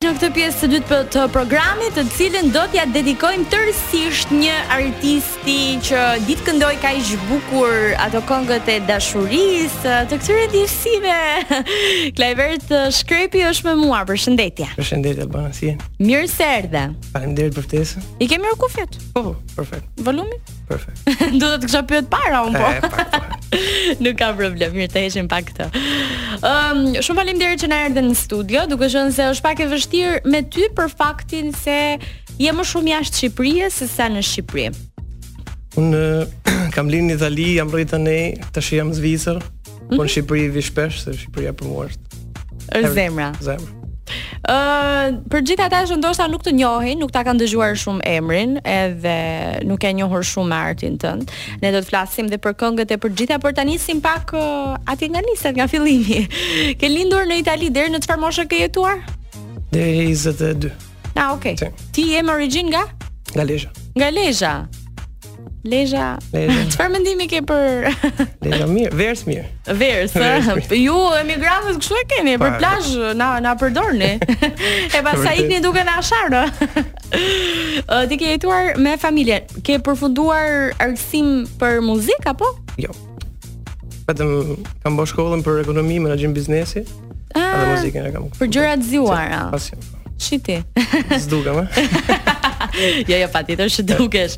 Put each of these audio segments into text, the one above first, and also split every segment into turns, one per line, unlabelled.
Në këtë pjesë të dytë për- të programit, të cilën do t'ja dedikojmë tërësisht një artisti që ditë këndoi kaq bukur ato këngët e dashurisë, të këtyre djesive. Klajvert Shkrepi është me mua, përshëndetje.
Përshëndetje Albana, si je?
Mirë se erdhe.
Faleminderit për ftesën.
I ke mirë kufjet?
Po, po, perfekt,
Volumin?
perfekt.
do të të kisha pyet para un po.
E, pak, pak.
Nuk ka problem, mirë të heqim pak këtë. Ëm, shumë faleminderit që na erdhe në studio, duke qenë se është pak e vështirë me ty për faktin se je më shumë jashtë Shqipërisë se sa në Shqipëri.
Unë eh, kam linë në Itali, jam rritë në tash jam në Zvicër, po
Mhm.
në Shqipëri vi shpesh, se Shqipëria për mua është
Është zemra.
zemër.
Ë, për gjithë ata që ndoshta nuk të njohin, nuk ta kanë dëgjuar shumë emrin, edhe nuk e njohur shumë artin tënd. Ne do të flasim dhe për këngët e përgjitha për ta nisim pak uh, aty nga niset, nga fillimi. Ke lindur në Itali deri në çfarë moshe ke jetuar?
Deri 22,
Ah, okay.
Si.
Ti je me origjinë nga?
nga Lezhë.
Nga Lezhë. Lezhë.
Lezhë.
Çfarë mendimi ke për
Lezhë mirë, verës mirë.
vers? ë? Ju emigrantët kështu e keni për
Pa.
plazh na na përdorni. e pastaj
Vërtet.
ikni duke na sharë. Ë, Ti ke jetuar me familje. Ke përfunduar arsim për muzikë apo?
Jo. Vetëm kam bërë shkollën për ekonomi, menaxhim biznesi, edhe
Ah,
muzikën e kam.
Për gjëra të zgjuara.
Pasi.
Shiti.
S'dukam, a?
jo, jo, patjetër që dukesh.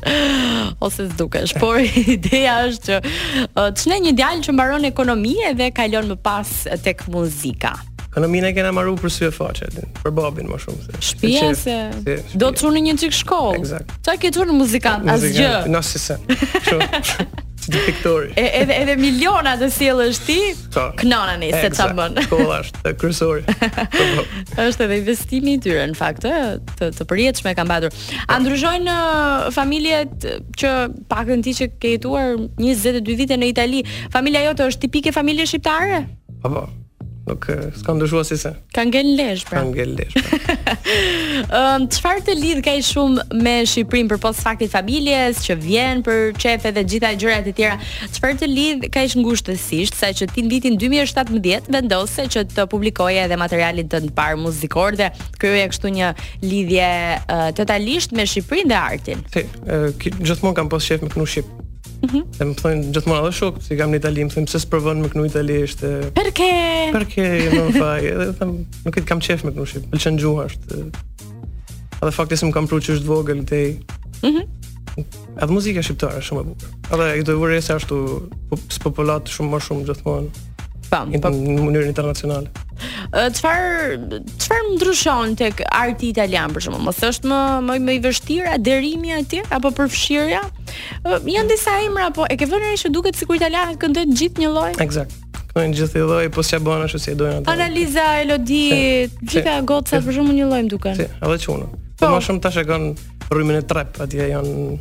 Ose s'dukesh, por ideja është që ë, të shne një djalë që mbaron ekonomi dhe kalon më pas tek muzika.
Ekonominë e kena marru për sy e faqe, din, për babin më shumë se.
Shpia
qef,
se
si,
do
shpia.
të çunë një çik shkollë.
Eksakt.
Çfarë ke çunë muzikant?
Muzikë,
Asgjë.
Na si se. Kështu. Si të piktori.
E, edhe edhe miliona të sjellësh ti,
Po.
knonani se ça
Eksakt.
bën.
Shkolla është e kryesore. Po, po.
është edhe investimi i tyre në fakt, ë, të të përjetshme kam patur. A ndryshojnë ë, familjet ë, që pakën ti që ke jetuar 22 vite në Itali, familja jote është tipike familje shqiptare?
Po po. Nuk e, s'ka ndryshuar si se.
Ka ngel lesh pra.
Kam gjelësh.
Ëm çfarë të lidh kaq shumë me Shqipërinë përpos faktit familjes që vjen për çefe dhe gjitha gjërat e tjera? Çfarë të lidh kaq ngushtësisht saqë ti në vitin 2017 vendose që të publikoje edhe materialin tënd të parë muzikor dhe krijoje kështu një lidhje uh, totalisht me Shqipërinë dhe artin.
Si, e, ki- gjithmonë kam pas shef me kënu shqip. Mhm. Dhe më thonë gjithmonë edhe shok, si kam në Itali, më thonë pse s'provon me kënu italisht. e,
Perke
Përke jo, më faj, edhe them nuk e kam qef me kënu shqip. Pëlqen gjuha është. e, Edhe fakti se më kam pru që është vogël te.
Mhm.
Edhe muzika shqiptare është shumë e bukur. Edhe i do vërejse ashtu po- spopullat shumë më shumë gjithmonë
Po.
in- në mënyrën internacionale.
Ë, Çfarë çfarë ndryshon tek arti italian për shembull? Mos është më më, më i vështirë a derimi atje apo përfshirja? Ë, Janë disa emra, po e ke vënë re që duket sikur italianët këndojnë gjithë një lloj?
Eksakt. Këtojnë gjithë i lloj, po s'ja bën ashtu si e dojnë ata.
Analiza, elodi,
Se,
gjitha
se,
goca
se.
për shembull një lloj më duken.
Si, edhe çuna.
Po.
Po më shumë tash e kanë rrymën e trap, atje janë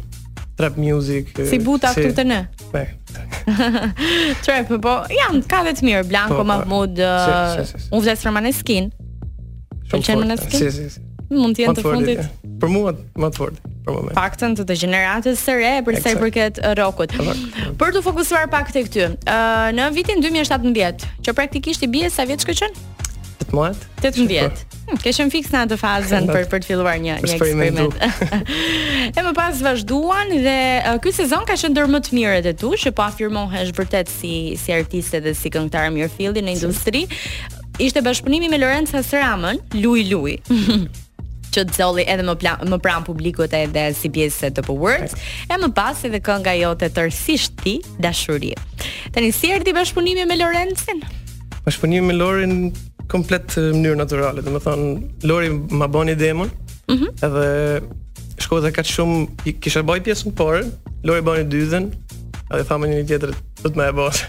trap music. e,
Si buta këtu te ne.
Me.
Trap, po janë ka dhe të mirë Blanco
Po, po.
Mahmud, ë,
Se, se, se, se.
unë vdes Romaneskin,
Shumë
Pëlqen
fort,
Maneskin?
Si, si, si.
mund të
Më
jenë të
fortë,
fundit
e. Për mua më të fortë për moment.
paktën të të gjeneratës së re për sa i
Eksakt.
përket rrokut.
Rrokut.
Për të fokusuar pak tek ty. Ë në vitin 2017, që praktikisht i bie sa vjeç ke qenë?
18.
18. Hm, Ke qenë fiks në atë fazën për për të filluar një një
Eksperimentu.
eksperiment. e më pas vazhduan dhe uh, ky sezon ka qenë ndër më të mirët e tu, që po afirmohesh vërtet si si artiste dhe si këngëtar mirëfilli në industri. Ishte bashkëpunimi me Lorenza Sramën, Luj Luj. që të zolli edhe më, plan, më pran publikut edhe si pjesë e Top Awards, e më pas edhe kënga jote tërësisht ti, dashuri. Tani si erdhi bashkëpunimi me Lorencin?
Bashkëpunimi me Lorin komplet në mënyrë natyrale, domethënë Lori ma bën demon. Mhm. edhe shkoj dhe kaq shumë i- kisha baj pjesën parë, Lori bën dytën, edhe thamë një tjetër do të më e bësh.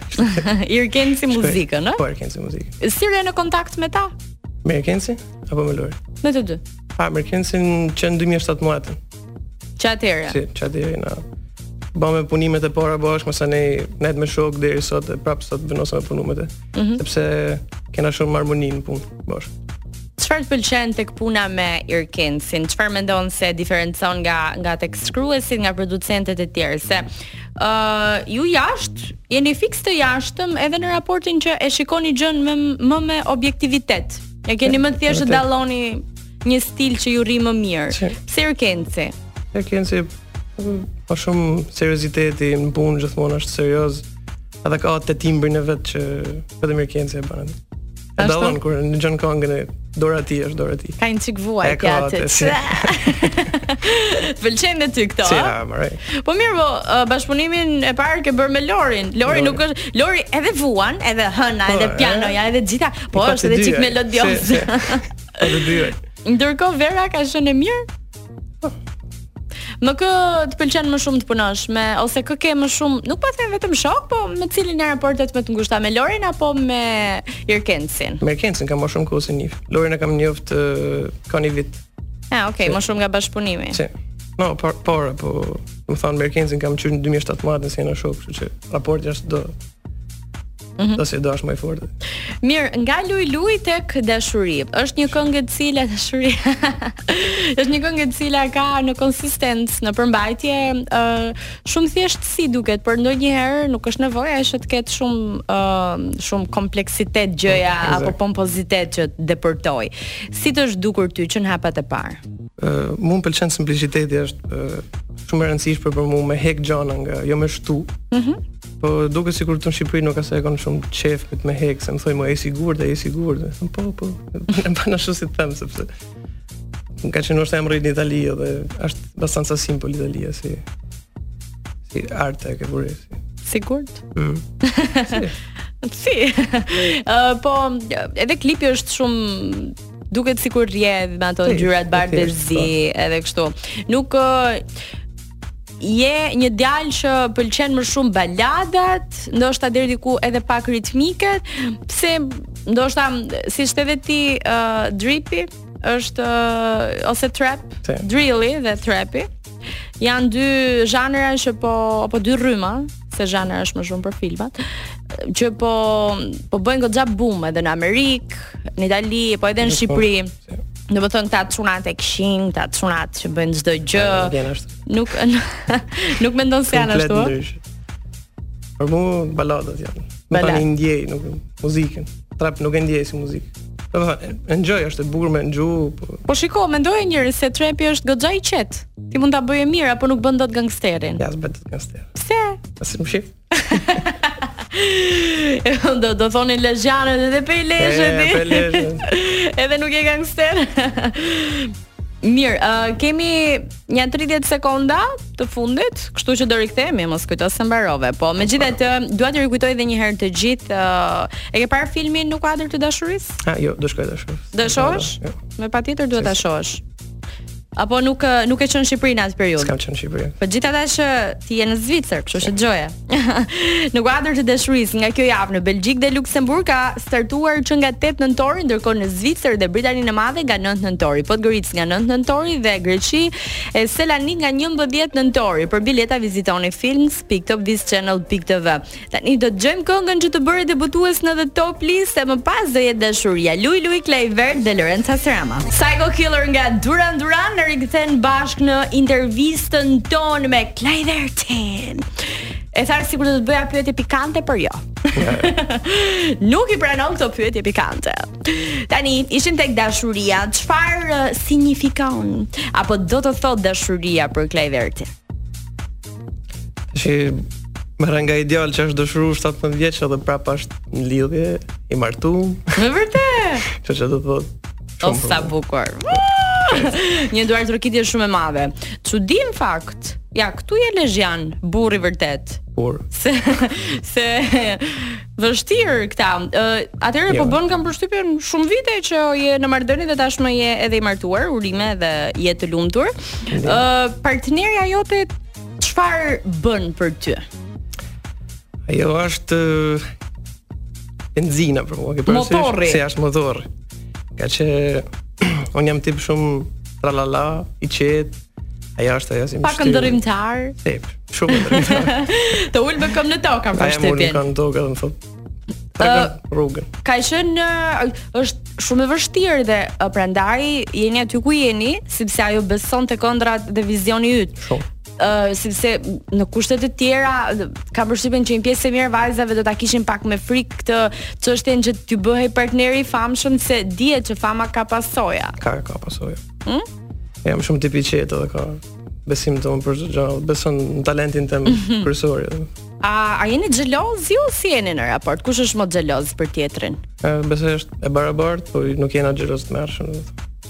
Irken si muzikën, ëh?
Po, e kënë si muzikë.
Si rre në kontakt me ta?
Me Erkensi apo me Lori?
Me të dy.
Pa, me Erkensin që në 2017,
Që atëherë.
si që deri na bëmë punimet e para bashkë, mësa ne net me shok deri sot e prapë sot vënosa me punumet e. Sepse kena shumë harmoni në punë bashkë.
Çfarë të pëlqen tek puna me Irkensin? Çfarë mendon se diferencon nga nga tek shkruesit, nga producentët e tjerë? Se ë ju jashtë jeni fiks të jashtëm edhe në raportin që e shikoni gjën më më me objektivitet. E keni më thjesht të
vërtet.
dalloni një stil që ju rri më mirë.
Që-
Pse Erkenci?
E kënë si pa shumë serioziteti në punë gjithmonë është serioz. Edhe ka atë timbrin e vet që vetëm Erkenci e bën. E
Ashtu? Po.
dallon kur në gjën këngën e dora e tij është dora e tij.
Ka një çik vuaj
E
kja
ka
atë.
atë, si.
Çe- Pëlqen dhe ty këto,
Si
a?
ha, më rej.
Po mirë, po, ë, bashkëpunimin e parë ke bërë me Lorin. Lori
Lori.
nuk është Lori edhe vuan, edhe hëna,
Po,
edhe
e?
pianoja, edhe gjitha, po
I pak
është
të
edhe
dyja,
çik
e.
melodioz.
Se- se- Edhe dy. e.
Ndërkohë Vera ka shënë e mirë. Më kë të pëlqen më shumë të punosh me ose kë ke më shumë, nuk po them vetëm shok, po me cilin e raportet më të ngushta me Lorin apo me Irkencin?
Me Erkencin kam më shumë kohë se njëf. Lorin e kam njoft ë, ka një vit.
Ah, okay, më shumë nga bashkëpunimi.
Se, no, por, por po, më thonë me Erkencin kam qyrë në 2017 nëse jena shok, kështu që raporti është do
Mhm.
do se do është më i fortë.
Mirë, nga Luj Luj tek dashuri. Është një këngë e cila dashuri. është një këngë e cila ka në konsistencë, në përmbajtje, ë shumë thjeshtësi duket, por ndonjëherë nuk është nevoja që të ketë shumë ë shumë kompleksitet gjëja
Mm,
apo
exact.
pompozitet që të depërtoj. Si të është dukur ty që në hapat e parë?
Uh, mu më pëlqen simpliciteti është uh, shumë e rëndësishme për mua me hek gjana nga jo me shtu. Mhm. po duket sikur këtu në Shqipëri nuk ka sa e kanë shumë qef për të me hek, se më thoi më e sigurt, e sigurt. E thon po po. E bën ashtu si të them sepse ka qenë është emri në Itali dhe është bastanca simpol Italia si si arte e buris.
Sigurt?
Mm.
Si. Ë, po edhe klipi është shumë duket sikur rjedh me ato
Thjesht,
ngjyrat bardhë
thjesht,
zi, edhe kështu. Nuk ë, je një djalë që pëlqen më shumë baladat, ndoshta deri diku edhe pak ritmiket, pse ndoshta siç edhe ti ë dripi është ë, ose trap,
Te.
drilli dhe trapi. Janë dy zhanra që po apo dy rryma, se zhanra është më shumë për filmat, që po po bëjnë goxha boom edhe në Amerikë, në Itali, po edhe në
Nuk po.
Shqipëri. Do të thonë këta çunat e kishin, këta çunat që bëjnë çdo gjë.
Vjen ashtu.
Nuk nuk mendon se janë
Komplet
ashtu. ë?
ndryshe. Për mu baladat janë. Më
Balad.
tani ndjej, nuk muzikën. Trap nuk e ndjej si muzikë. Do të thonë, enjoy është e bukur me ngju, po
Po shiko, mendoje njëri se trapi është goxha i qetë. Ti mund ta bëje mirë apo nuk bën dot gangsterin.
ja s'bëhet të kaster.
Pse?
Asi më shif.
do do thonin lezhanët edhe peleshe
E,
ti.
peleshe.
edhe nuk je gangster. Mirë, uh, kemi një 30 sekonda të fundit, kështu që do rikthehemi, mos kujto se mbarove. Po, megjithatë, dua të rikujtoj edhe një herë të gjithë, uh, e ke parë filmin në kuadër të dashurisë?
Ha, jo, do shkoj tash.
Do e shohësh?
Jo,
Me patjetër duhet ta shohësh. Apo nuk ë, nuk e qenë në Shqipëri në atë periudhë.
s'kam qenë në Shqipëri.
Po gjithata që ti je në Zvicër, kështu që dëgjoje. në kuadër të dashurisë nga kjo javë në Belgjik dhe Luksemburg ka startuar që nga 8 nëntori, ndërkohë në Zvicër dhe Britaninë e Madhe nga 9 nëntori, Podgoricë nga 9 nëntori dhe Greqi e Selanik nga 11 nëntori. Për bileta vizitoni films.topvischannel.tv. Tani do të dëgjojmë këngën që të bëri debutues në The Top List e më pas do jetë dashuria Luj Luj Klejver dhe Lorenza Serama. Psycho Killer nga Duran Duran në rikëthen bashkë në intervistën tonë me Klejvertin. E tharë sikur do të bëja pyetje pikante për jo. Nuk i pranon këto pyetje pikante. Tani ishin tek dashuria, çfarë eh, signifikon apo do të thot dashuria për Klejvertin?
Tash më rënë nga ideal që është dëshuru 17 vjeç edhe prapa është në lidhje, i martuar,
Në vërtet.
që që do të thotë.
O
shumë për
sa
mua.
bukur. Një duar trokitje shumë e madhe. Çudi në fakt. Ja, këtu je lezhjan, burri vërtet.
Por,
Se se vështirë këta. Ë, Atëherë po
Jo.
bën kam përshtypjen shumë vite që je në marrëdhënie dhe tashmë je edhe i martuar, urime dhe je të lumtur. Ë, partnerja jote çfarë bën për ty?
ajo është ë, benzina për mua, ke parasysh?
Motorri.
Se është motor. Ka që unë jam tip shumë tralala, i qetë, ajo është ajo si më
Pak ndërrimtar,
Tip, shumë ndërim.
të ul me këmbë në tokë kam
Aja më
përshtypjen.
kanë tokë dhe më thotë, tregën rrugën.
ka qenë ë, është shumë e vështirë dhe ë, prandaj jeni aty ku jeni sepse ajo beson te kontrat dhe vizioni yt.
Shumë.
ë sepse në kushtet e tjera ka përshtypjen që një pjesë e mirë vajzave do ta kishin pak me frikë këtë çështjen që t'ju bëhej partneri i famshëm se dihet që fama ka pasoja.
Ka ka pasojë.
Mm?
Jam shumë tipi i qetë dhe ka besim të unë për çdo gjë, beson në talentin tim
Mhm.
kryesor. edhe.
A, a jeni xheloz ju si jeni në raport? Kush është më xheloz për tjetrin?
E, Besoj është e barabartë, po nuk jena xheloz të mërshëm.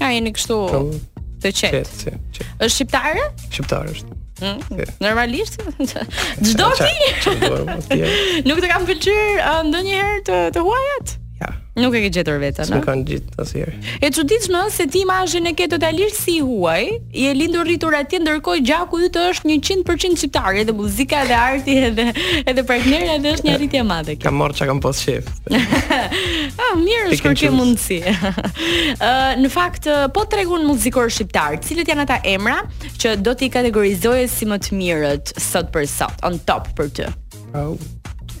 A jeni kështu
Shumë
të qetë?
qetë, si, qetë.
Është shqiptare?
Shqiptar është.
Mm,
Qetë.
normalisht çdo Po,
Qa-
ti
qa duar, po, tje.
nuk të kam pëlqyer ë, ndonjëherë të të huajat.
Ja,
Nuk e ke gjetur veten,
s'më
a?
kanë gjitë asnjëherë.
E çuditshme ë, se ti imazhin e ke totalisht si i huaj, je lindur rritur atje ndërkohë gjaku yt është 100% shqiptar, edhe muzika edhe arti edhe edhe partnerja edhe është një arritje e madhe kjo.
Kam marrë çka kam pas shef.
Ah, mirë është
Pick
kur ke
and choose.
mundësi. Ë, në fakt ë, po tregun muzikor shqiptar, cilët janë ata emra që do t'i kategorizoje si më të mirët sot për sot, on top për ty.
Au.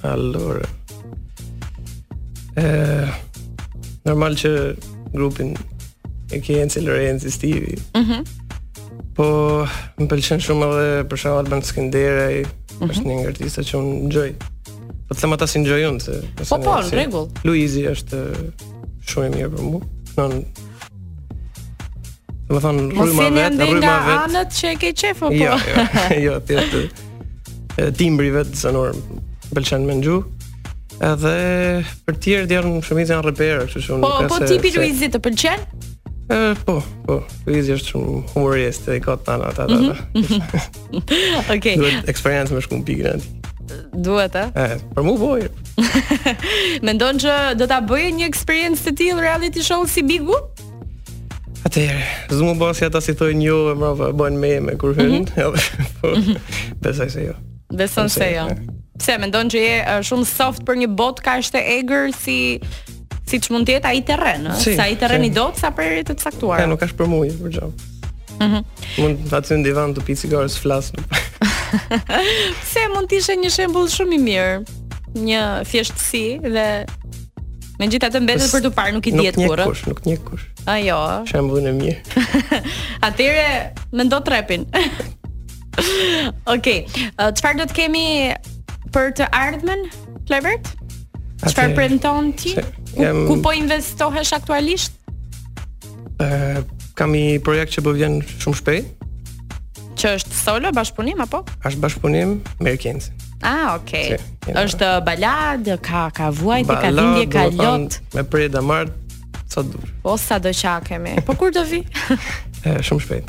Allora. Ë Eh, normal që grupin e ke Enci Lorenzi, Stivi. Mhm. po më pëlqen shumë edhe për shembull Alban Skënderaj,
Mhm.
është një nga artistat që unë ngjoj. Po të them ata si ngjoj unë se. ose
Po, po,
ne
në
si-
rregull.
Luizi është eh, shumë e mirë për mua. Nën Do të thonë
Mos
rryma
jeni
vet,
ende nga
rryma vet.
anët që e ke po. qef apo?
Jo, jo, jo, thjesht e, timbri vetë zanor më pëlqen me ngju. Edhe për tjerë janë shumica janë repera, kështu që unë
Po,
nuk ka
po
se-
tipi
se-
Luizit të pëlqen?
E, po, po. Luizi është shumë humorist dhe i ka tana ata ata.
Mhm, Okej,
Duhet eksperiencë me shku në pikën aty.
duhet ë.
E, për mua po. jo.
Mendon që do ta bëje një eksperiencë të tillë reality show si Bigu?
Atëherë, zëmë u basi ata si thojnë jo, e mbrapa bën meme
Mhm.
kur hyn. edhe, Po, besoj se jo.
Beson
Pse,
se jo.
e.
Pse mendon që je ë, shumë soft për një botë kaq të egër si siç mund të jetë ai terren, ë?
Si,
sa ai terren
si.
i dot sa për të
E,
caktuar.
nuk është për mua, jo, për gjë.
Mhm.
Mund të aty në divan të pi cigare të flas. nuk-
Pse mund të ishte një shembull shumë i mirë, një thjeshtësi dhe megjithatë mbetet për të parë nuk i dihet
njeh
kurrë.
kush, nuk njeh kush.
A jo. ë?
Shembullin e mirë.
Atëre mendo trepin. Okej. ë, Çfarë do të kemi për të ardhmen? Flevert? Çfarë
Atëherë,
premton ti?
se-
Ku,
jam-
ku po investohesh aktualisht?
e, Kam i projekt që po vjen shumë shpejt.
Që është solo bashkëpunim apo?
Është bashkëpunim me Erkenzi.
Ah, okay.
Si, jena-
Është balad, ka ka vuajtje, ka
Ballad,
lindje, ka
do të thonë,
lot,
Me Preda Mart, sa dur.
o sa do qa kemi. Po kur do vi?
E, shumë shpejt.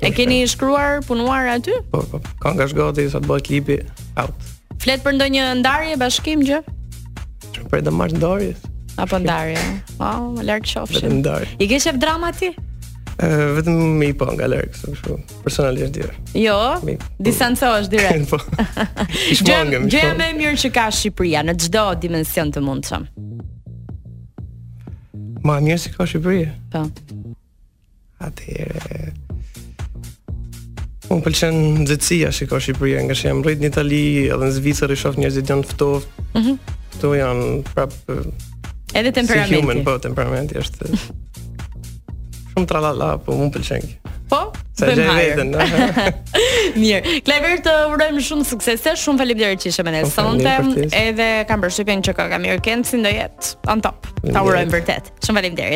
e keni shkruar, punuar aty?
Po, po. Ka nga zgati sa të bëhet klipi out.
Flet për ndonjë ndarje, bashkim gjë
Shumë Preda Mart ndarjes,
apo ndarje? Wow, më larg
vetëm
qofshin.
ndarje.
I ke shef drama ti?
E, vetëm me i po nga larg, kështu kështu. Personalisht dhe.
Jo,
Mi-
distancohesh direkt.
Po. Ish
Pra. Gjë
mangëm. po. ish
gjë
mangëm.
më e mirë që ka Shqipëria në çdo dimension të mundshëm.
Ma mirë si ka Shqipëria.
Po.
Atëherë Unë pëlqen nxehtësia që ka Shqipëria, nga që jam rrit në Itali, edhe në Zvicër i shoh njerëzit janë ftoft. Mhm. Kto janë prap e,
Edhe
si human,
temperamenti.
po temperamenti është e, shumë tralala, po unë pëlqen. kjo.
po.
Sa
bëjmë
gjej
hajër.
veten, a?
Mirë. Klever të urojmë shumë suksese, shumë faleminderit që ishe me ne
Po,
sonte.
faleminderit për ftesën.
Edhe kam përshtypjen që ka Kamir Kenci do jetë on top. Ta
Faleminderit.
urojmë vërtet. Shumë faleminderit.